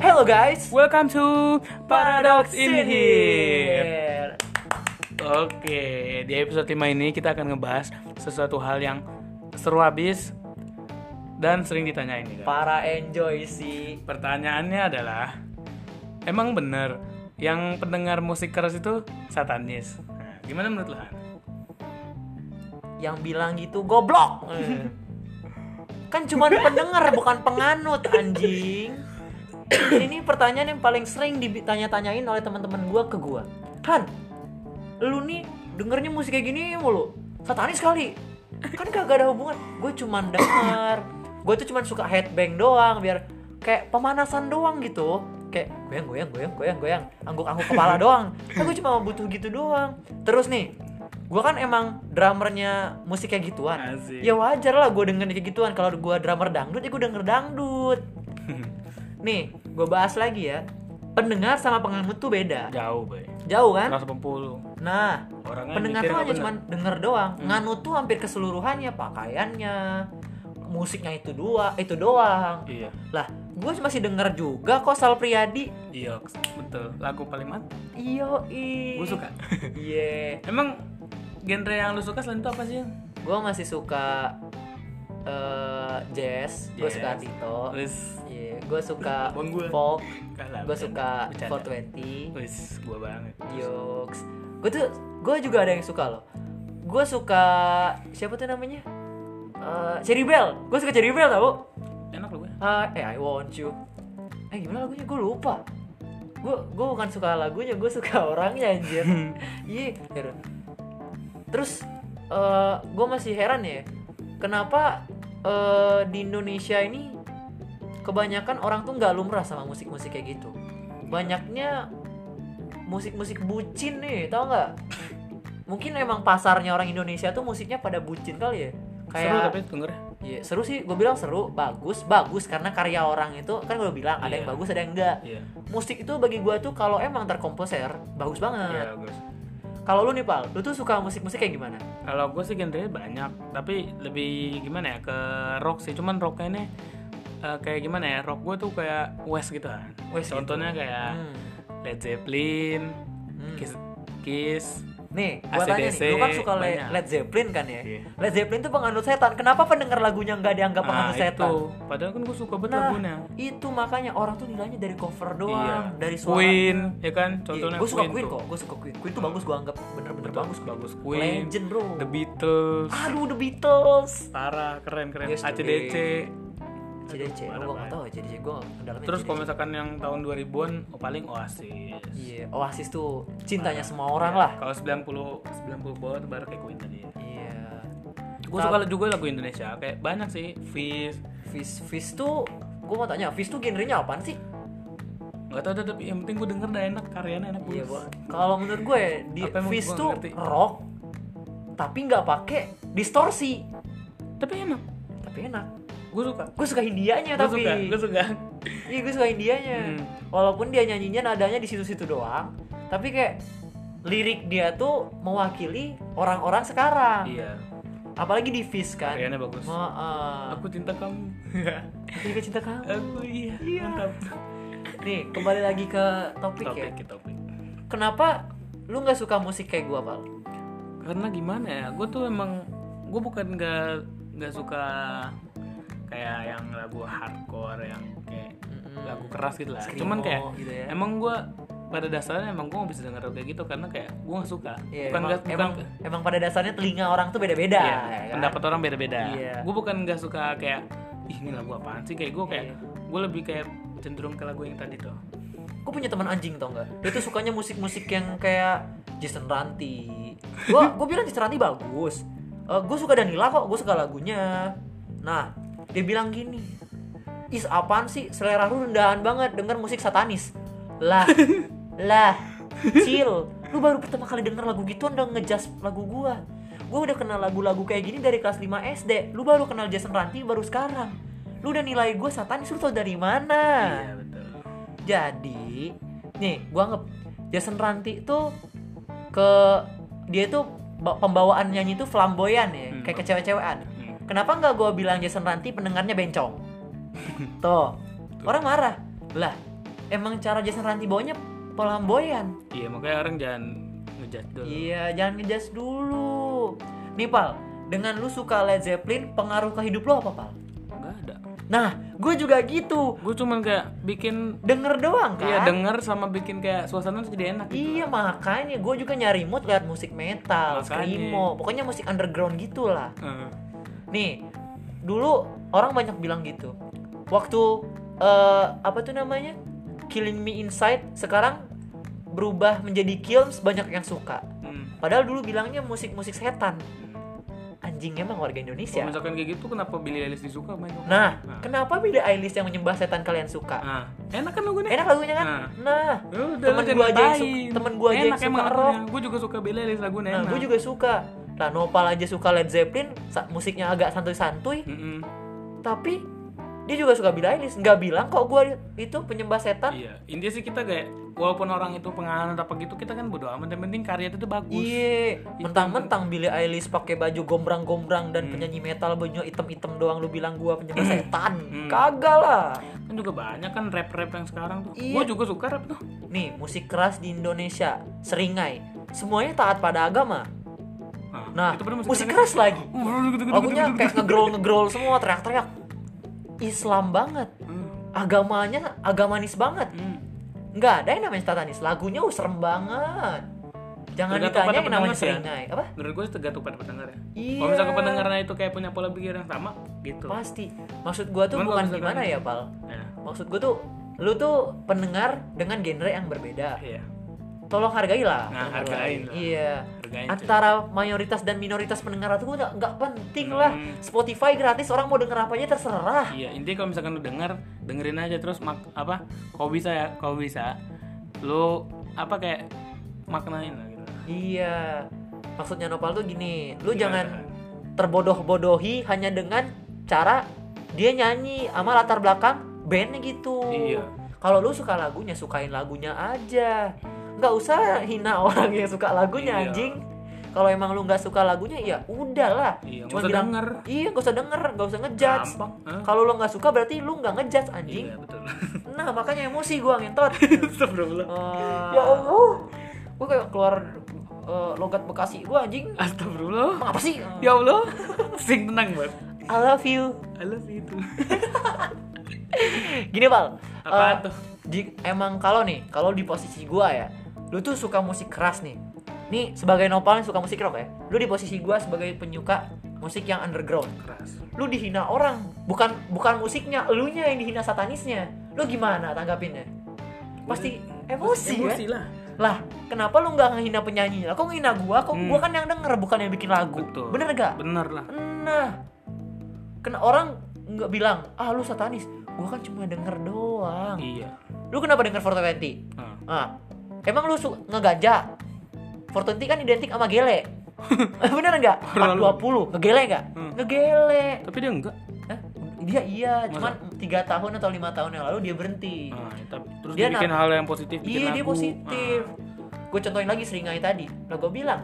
Hello guys. Welcome to Paradox in Here. Oke, di episode 5 ini kita akan ngebahas sesuatu hal yang seru habis dan sering ditanyain nih. Kak. Para enjoy sih. Pertanyaannya adalah emang bener yang pendengar musik keras itu satanis? Nah, gimana menurut lo? Han? Yang bilang gitu goblok. Eh. kan cuman pendengar bukan penganut anjing. Ini pertanyaan yang paling sering ditanya-tanyain oleh teman-teman gua ke gua. Han, lu nih dengernya musik kayak gini mulu. Satanis kali. Kan kagak ada hubungan. Gue cuman denger. Gue tuh cuman suka headbang doang biar kayak pemanasan doang gitu. Kayak goyang goyang goyang goyang goyang angguk-angguk kepala doang. Kan gue cuma butuh gitu doang. Terus nih, gue kan emang drummernya musik kayak gituan. Asik. Ya wajar lah gue denger kayak gituan. Kalau gue drummer dangdut ya gue denger dangdut. Nih, gue bahas lagi ya. Pendengar sama penganut tuh beda. Jauh, Bay. Jauh kan? 180. Nah, Orangnya pendengar nyetir tuh hanya nggak bener. Hmm. cuma denger doang. Nganut tuh hampir keseluruhannya, pakaiannya, musiknya itu dua, itu doang. Iya. Lah, gue masih denger juga kok Sal Priadi. Iya, betul. Lagu paling mantap. Iya. Iyo Gue suka. Iya. Emang genre yang lu suka selain itu apa sih? Gue masih suka eh jazz, gue Jazz. suka Tito. Wis, Iya, gue suka Abang gua. folk, kalah. gue suka Bercanda. 420. Wis, gua banget. Yoks. Gue tuh gue juga ada yang suka loh. Gue suka siapa tuh namanya? Eh, Cherry Bell. Gue suka Cherry Bell tau. Enak lu gue. Ah, eh I want you. Eh gimana lagunya? Gue lupa. Gue gue bukan suka lagunya, gue suka orangnya anjir. Iya, heran. Terus eh gue masih heran ya. Kenapa eh, di Indonesia ini kebanyakan orang tuh nggak lumrah sama musik-musik kayak gitu. Banyaknya musik-musik bucin nih, tau nggak? Mungkin emang pasarnya orang Indonesia tuh musiknya pada bucin kali ya. Kayak Seru tapi dengernya. Iya seru sih, gue bilang seru, bagus, bagus karena karya orang itu kan gue bilang ada yang Iya. bagus ada yang enggak. Iya. Musik itu bagi gue tuh kalau emang terkomposer bagus Iya, banget. bagus. Kalau lu nih pal, lu tuh suka musik-musik kayak gimana? Kalau gue sih genre banyak, tapi lebih gimana ya ke rock sih. Cuman rocknya ini eh, kayak gimana ya? Rock gue tuh kayak West gitu kan. West gitu. Contohnya kayak Hmm. Led Zeppelin, Hmm. Kiss, Kiss. Nih, gue tanya nih, AC/DC, lu kan suka Le- banyak. Led Zeppelin kan ya? Iya. Led Zeppelin tuh penganut setan. Kenapa pendengar lagunya nggak dianggap Ah, penganut setan? itu. Padahal kan gue suka banget Nah, lagunya. itu makanya orang tuh nilainya dari cover doang, Iya. dari suara. Queen, ya kan? Contohnya gue suka Queen tuh. kok, gue suka Queen. Queen tuh bagus, gue anggap bener-bener Betul, bagus. Queen. bagus. Queen, Legend bro. The Beatles, Aduh, The Beatles. parah keren keren. Yes, ACDC. CDC, Aduh, parah gue gak banget. tau CDC, gue dalamnya Terus CDC. kalau misalkan yang tahun 2000-an oh, paling Oasis. Iya, Oasis tuh cintanya Nah, semua orang iya. lah Kalau 90 90 bawah tuh baru kayak Queen tadi. Ya. Iya Gue Tab- suka juga lagu Indonesia, kayak banyak sih, Fish. Fizz, Fizz tuh, gue mau tanya, Fizz tuh genrenya apaan sih? Gak tau dah, tapi yang penting gue denger dah enak, karyanya enak Iya, bagus. gua Kalau menurut gue, di Apa emang Fizz gua tuh ngerti? rock Tapi nggak pakai distorsi Tapi enak, Tapi enak gue suka. Gue suka Hindianya Gue tapi suka, gue suka. Iya, gue suka Hindianya Hmm. Walaupun dia nyanyinya nadanya di situ-situ doang Tapi kayak lirik dia tuh mewakili orang-orang sekarang Iya, Apalagi di Fizz kan karyanya bagus. Maaf. Aku cinta kamu. Aku juga cinta kamu. Aku iya. Iya. Mantap. Nih, kembali lagi ke topik, ya. Topik, topik. Kenapa lu nggak suka musik kayak gua, Pal? karena gimana ya gue tuh emang gue bukan nggak nggak suka kayak yang lagu hardcore yang kayak Mm-mm. lagu keras gitu lah Screamo cuman kayak gitu ya. emang gue pada dasarnya emang gue nggak bisa denger kayak gitu karena kayak gue nggak suka Iya, bukan emang, nggak bukan emang, emang pada dasarnya telinga orang tuh beda-beda. iya, ya kan? pendapat orang beda-beda Iya. gue bukan nggak suka kayak "Ih, ini lagu apaan sih kayak gue kayak Iya. gue lebih kayak cenderung ke lagu yang tadi tuh Gua punya teman anjing tau nggak? Dia tuh sukanya musik-musik yang kayak Jason Ranti. Gua, gua bilang Jason Ranti bagus. Eh, gua suka Danila kok, gua suka lagunya. Nah, dia bilang gini, is apaan sih? Selera lu rendahan banget denger musik satanis. Lah, lah, chill. Lu baru pertama kali denger lagu gitu udah ngejas lagu gua. Gua udah kenal lagu-lagu kayak gini dari kelas 5 SD. Lu baru kenal Jason Ranti baru sekarang. Lu udah nilai gua satanis lu tau dari mana? iya betul Jadi, nih, gua anggap Jason Ranti itu ke dia tuh ba- pembawaan nyanyi itu flamboyan ya, Hmm. kayak kecewa-cewaan. Hmm. Kenapa nggak gua bilang Jason Ranti pendengarnya bencong? Tuh, orang marah. Lah, emang cara Jason Ranti bawanya pelamboyan. Iya makanya orang jangan ngejat dulu. Iya, jangan ngejas dulu. Nih Pal, dengan lu suka Led Zeppelin, pengaruh ke hidup lu apa Pal? Nggak ada. Nah, gue juga gitu. Gue cuman kayak bikin Denger doang kan? Iya denger sama bikin kayak suasana tuh jadi enak gitu. Iya makanya gue juga nyari mood liat musik metal, Makanya. screamo, pokoknya musik underground gitulah. Heeh. Nih, dulu orang banyak bilang gitu. Waktu eh, apa tuh namanya? Killing Me Inside sekarang berubah menjadi Kilms banyak yang suka. Hmm. Padahal dulu bilangnya musik-musik setan. Anjing emang warga Kalau Indonesia. misalkan kayak gitu kenapa Billy Eilish disuka main? Nah, kenapa Billie Eilish yang menyembah setan kalian suka? Ah, enak kan lagunya? Enak lagunya kan? Nah. Nah, Udah, temen jangan gua aja yang ngatain. suka- temen gua aja yang Enak suka emang rock. lagunya. Gua juga suka Billy Eilish lagunya nah enak. gue juga suka. Lah Nopal aja suka Led Zeppelin, sa- musiknya agak santuy-santuy, Mm-mm. tapi dia juga suka Billie Eilish. Nggak bilang kok gue itu penyembah setan. Iya, intinya sih kita kayak walaupun orang itu penganut apa gitu, kita kan bodo amat. Yang penting karya itu tuh bagus. Iya, mentang-mentang Billie Eilish pakai baju gombrang-gombrang dan penyanyi metal bajunya item-item doang lu bilang gua penyembah setan. Kagak lah. Kan juga banyak kan rap-rap yang sekarang tuh. Iya. Gua juga suka rap tuh. Nih, musik keras di Indonesia, seringai. Semuanya taat pada agama. Nah, itu bener musik keras lagi. Lagunya Lagunya kayak ngegrol-ngegrol semua, teriak-teriak. Islam banget. Agamanya agamanis banget. Nggak ada yang namanya satanis. Lagunya uh, serem banget. Jangan Tergantung ditanya pada yang namanya pendengar ya. seringai. Apa? Menurut gue sih tergantung pada pendengarnya. Iya. Kalau misalkan pendengarnya itu kayak punya pola pikir yang sama, gitu. Pasti. Maksud gua tuh Cuman kalau bukan misalkan- gimana ya, Pal. Nah, Maksud gua tuh lu tuh pendengar dengan genre yang berbeda. iya. Tolong hargailah. Nah, pendengar hargain lain. lah. Iya. Hargain, cuy. Antara mayoritas dan minoritas pendengar itu nggak nggak penting lah. Hmm. Spotify gratis, orang mau denger apa aja terserah. Iya, intinya kalau misalkan lu denger, dengerin aja terus mak apa? Kalau bisa ya, kalau bisa lu apa kayak maknain lah gitu. Iya. Maksudnya Nopal tuh gini, lu Gimana? jangan terbodoh-bodohi hanya dengan cara dia nyanyi sama latar belakang bandnya gitu. Iya. Kalau lu suka lagunya, sukain lagunya aja. Nggak usah hina orang yang suka lagunya Iya. anjing. Kalau emang lu nggak suka lagunya, ya udahlah. Cuma Iya, nggak usah bilang, denger. Iya, nggak usah denger, nggak usah ngejudge. Gampang. Hah? Kalau lu nggak suka berarti lu nggak ngejudge anjing. Iya, betul. Nah, makanya emosi gua ngentot. Astagfirullah. ya Allah. Gue kayak keluar eh, logat Bekasi gue anjing. Astagfirullah. Emang apa sih? Ya Allah. Sing tenang banget. I love you. I love you too. Gini, Pal. Apaan Eh, tuh? di- emang kalau nih, kalau di posisi gue ya, lu tuh suka musik keras nih. Nih, sebagai nopal yang suka musik rock ya, lu di posisi gue sebagai penyuka musik yang underground. Keras. Lu dihina orang, bukan bukan musiknya, elunya yang dihina satanisnya. Lu gimana tanggapinnya? Pasti emosi, ya? Emosi lah. Lah, kenapa lu nggak ngehina penyanyi? Lah, kok ngehina gua? Kok gua kan yang denger bukan yang bikin lagu. Hmm. Betul. Bener gak? Bener lah. Nah. Kena orang nggak bilang, "Ah, lu satanis." Gua kan cuma denger doang. Iya. Lu kenapa denger 420? Nah. Ah. Emang lu suka ngeganja? 420 kan identik sama gele. Bener nggak? Parah lu. 420 ngegele nggak? Hmm. Ngegele. Tapi dia enggak. Hah? Dia iya, cuman tiga tahun atau lima tahun yang lalu dia berhenti. Nah, tapi terus Iya. Dia dia, bikin hal yang positif, bikin Ah. Iya dia lagu. positif. Gue Ah. contohin lagi seringai tadi. Lah gue bilang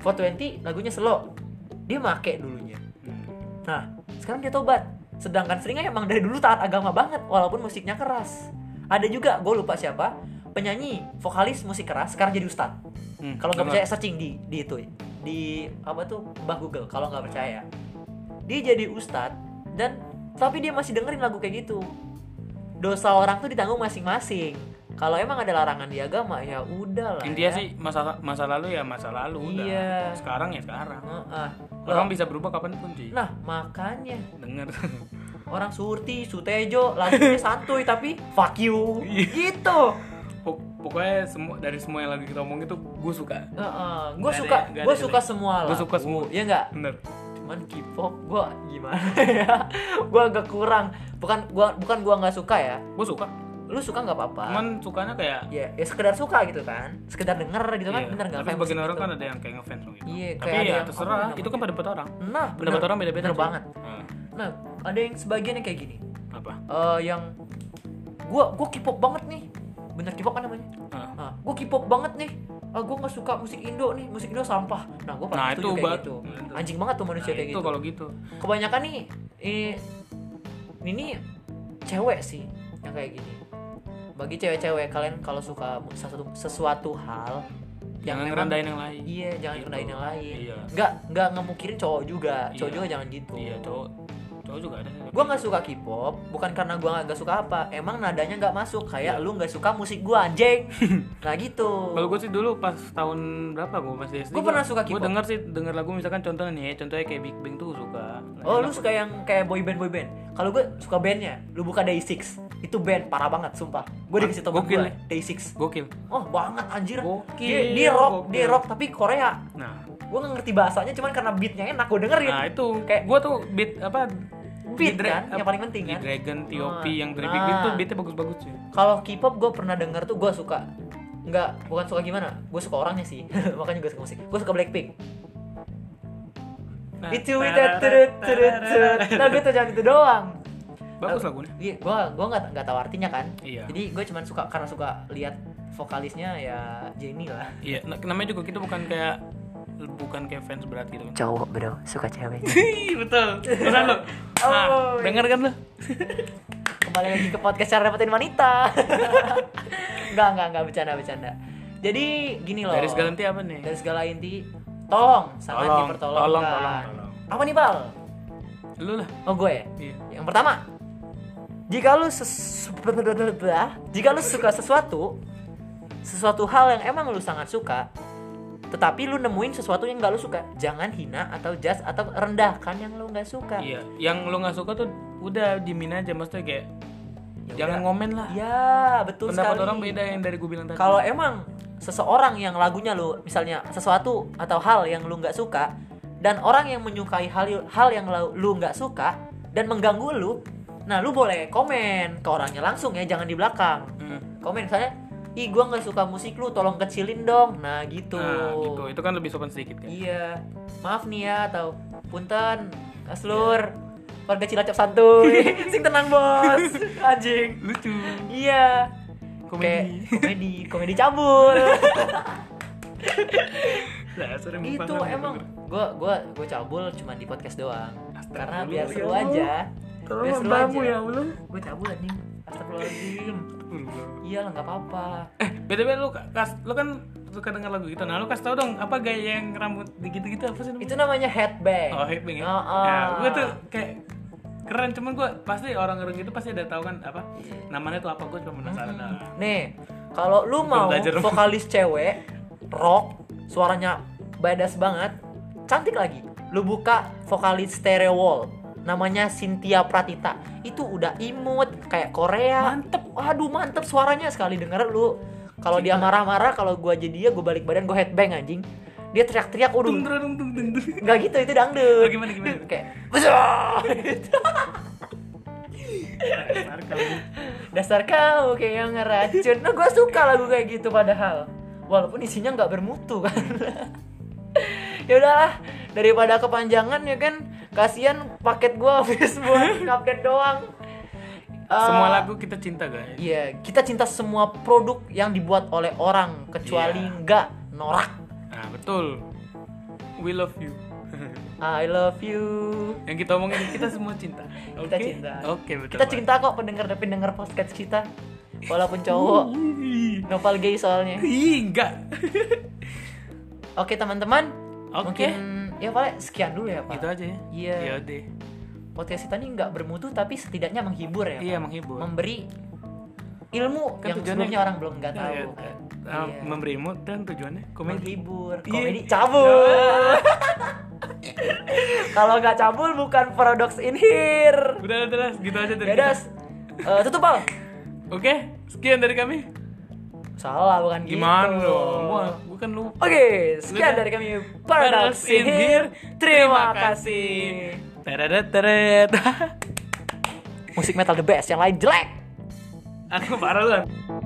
420 lagunya slow. Dia make dulunya. Hmm. Nah sekarang dia tobat. Sedangkan seringai emang dari dulu taat agama banget walaupun musiknya keras. Ada juga gue lupa siapa penyanyi vokalis musik keras sekarang jadi ustad. Hmm, Kalau nggak bener. percaya searching di di itu di apa tuh bang Google kalau nggak percaya. Dia jadi ustad dan tapi dia masih dengerin lagu kayak gitu dosa orang tuh ditanggung masing-masing. Kalau emang ada larangan di agama ya udahlah. Intinya ya. sih masa masa lalu ya masa lalu udah. Iya. Sekarang ya sekarang. Heeh. Orang bisa berubah kapanpun sih. Nah, makanya Dengar. orang Surti, Sutejo lagunya santuy tapi fuck you Iya. gitu. Pok- pokoknya semua dari semua yang lagi kita omongin tuh gue suka. Gue Nggak ada suka ya, nggak gue ada suka jelek. semua lah. Gua suka semua. Iya enggak? Bener. Cuman K-pop gue gimana ya? gue agak kurang. Bukan gua bukan gua nggak suka ya. Gue suka. Lu suka nggak apa-apa. Cuman sukanya kayak Ya, ya sekedar suka gitu kan. Sekedar denger gitu kan Iya. bener nggak? Tapi kayak sebagian musik orang gitu. kan ada yang kayak ngefans gitu. Iya, kayak Tapi ada ya yang- apa terserah, namanya? itu kan pendapat orang. Nah, bener, Pendapat orang beda-beda. bener sih. banget. Hmm. Nah, ada yang sebagian yang kayak gini. Apa? Eh, yang gua gua K-pop banget nih. Bener K-pop kan namanya? Ah. Nah, gua K-pop banget nih. Ah, gua nggak suka musik Indo nih, musik Indo sampah. Nah, gua Nah, pernah itu setuju kayak obat. gitu. Iya, itu. Anjing banget tuh Nah, manusia kayak itu gitu. kalau gitu. Kebanyakan nih eh, ini ini cewek sih yang kayak gini. bagi cewek-cewek kalian kalau suka sesuatu, sesuatu hal jangan memang- ngerendahin yang lain Iya, jangan Gitu. rendahin yang lain. Iya. Nggak nggak ngemukirin cowok juga. Cowok Iya. juga jangan gitu. iya cowok cowok juga ada Gua nggak suka K-pop bukan karena gua nggak suka apa. Emang nadanya nggak masuk kayak Iya. lu nggak suka musik gua anjing. nah gitu. kalau gue sih dulu pas tahun berapa gue masih SD Gua pernah suka gue K-pop. denger sih denger lagu misalkan contohnya nih contohnya kayak Big Bang tuh suka Nah, Oh lu enak. suka yang kayak boy band boy band. Kalau gue suka bandnya, lu buka Day6. Itu band parah banget, sumpah. Gue dikasih tau Gokil gue ya. Day6. gokil Oh banget anjir. Gokil, Dia, dia rock, gokil. dia rock tapi Korea. nah Gue nggak ngerti bahasanya, cuman karena beatnya enak gue dengerin. Nah itu kayak Kayak- gue tuh beat apa Iya. Beat G-Dra- kan, yang apa, paling penting kan. G-Dragon, T.O.P Ah, yang dari Big Bang nah. tuh beatnya bagus-bagus sih. Kalau K-pop gue pernah denger tuh gue suka. Nggak, bukan suka gimana? Gue suka orangnya sih. Makanya gue suka musik. Gue suka Blackpink. Nah, nah, Itu itu turut turut turut. Nah gue tuh jangan itu doang. Bagus lagunya. Iya, gue gue nggak nggak tahu artinya kan. Iya. Jadi gue cuman suka karena suka lihat vokalisnya ya Jennie lah. Iya, nah, namanya juga kita bukan kayak bukan kayak fans berat gitu kan. Cowok bro, suka cewek. betul. Beneran lu. Nah, Oh, iya. denger kan lu? Kembali lagi ke podcast cara dapetin wanita. Enggak enggak enggak bercanda bercanda. Jadi gini loh. Garis galanti apa nih? Dari segala inti, tolong sangat Tolong, dipertolongkan. tolong, tolong, tolong. Apa nih bal? Lu lah. Oh gue. Iya. Yang pertama, jika lu ses- jika lu suka sesuatu, sesuatu hal yang emang lu sangat suka, tetapi lu nemuin sesuatu yang gak lu suka, jangan hina atau judge atau rendahkan yang lu nggak suka. Iya, yang lu nggak suka tuh udah dimin aja maksudnya kayak Ya jangan ngomen lah. Ya betul Pendapat sekali. orang beda yang dari gue bilang tadi. Kalau emang seseorang yang lagunya lu, misalnya sesuatu atau hal yang lu nggak suka, dan orang yang menyukai hal hal yang lu- lu nggak suka dan mengganggu lu, nah lu boleh komen ke orangnya langsung ya, jangan di belakang. Hmm. Komen misalnya, ih gua nggak suka musik lu, tolong kecilin dong. Nah gitu. Nah, gitu. Itu kan lebih sopan sedikit kan. Iya, maaf nih ya atau punten, Iya. kaslur, warga Cilacap santuy, sing tenang bos, anjing. Lucu. Iya. Komedi. Kayak komedi, komedi cabul. Lah, sering gitu banget. emang. Gua gua gua cabul cuma di podcast doang. Karena Astagfirullah, biar ya seru Allah. aja. Tolong Biar seru mambamu aja. ya Allah. Gua cabul anjing. Astagfirullahaladzim. Iya lah nggak apa-apa. Eh, btw lu kas, lu kan suka denger lagu gitu. Nah, lu kasih tau dong apa gaya yang rambut gitu-gitu apa sih namanya? Itu namanya headbang. Oh, headbang ya. Oh, oh. Nah, gue tuh kayak keren cuman gue pasti orang-orang gitu pasti ada tahu kan apa namanya tuh apa gue cuma penasaran Hmm. doang. Nih, kalau lu mau belajar. vokalis cewek rock, suaranya badass banget, cantik lagi. Lu buka vokalis Stereo Wall, namanya Cynthia Pratita. Itu udah imut kayak Korea. Mantep, aduh mantep suaranya sekali denger lu. Kalau dia marah-marah, kalau gua jadi dia, gua balik badan, gua headbang anjing. Dia teriak-teriak, udah Tung tung tung tung tung, tung. nggak gitu itu dangdut. Oh, gimana, gimana? Kayak "Besar!" Tarik, tarik, Eh. tarik. dasar kau kayak yang ngeracun nah gue suka lagu kayak gitu padahal walaupun isinya nggak bermutu kan ya udahlah daripada kepanjangan ya kan kasihan paket gue habis buat update doang Eh, Semua lagu kita cinta guys. iya kita cinta semua produk yang dibuat oleh orang kecuali Iya. nggak norak Nah, betul. We love you. I love you yang kita omongin kita semua cinta. Kita Oke? cinta. Oke, betul. kita cinta kok pendengar pendengar podcast kita walaupun cowok nopal gay soalnya Ih, enggak. Oke teman-teman. Oke. Mungkin ya paling sekian dulu ya Pak. Gitu aja ya. Iya. Ya udah. Podcast kita ini nggak bermutu tapi setidaknya menghibur ya. Pak. Iya, menghibur. Memberi ilmu Kan yang tujuannya- sebelumnya orang belum nggak tahu. Iya, kan. Ah, Iya. Memberi mood dan tujuannya komedi. Menghibur. Iya. Komedi cabul. Kalau nggak cabul bukan paradox in here. Udah, udah, udah, gitu aja dari kita. Dadas. Eh, tutup Pak. Oke, sekian dari kami. Gitu. Salah bukan Gimana gitu. dong? Gua, gua kan lu. Oke, sekian Udah. dari kami Paradox in here. Terima kasih. Teret, teret. Musik metal the best, yang lain jelek. Aku parah lu.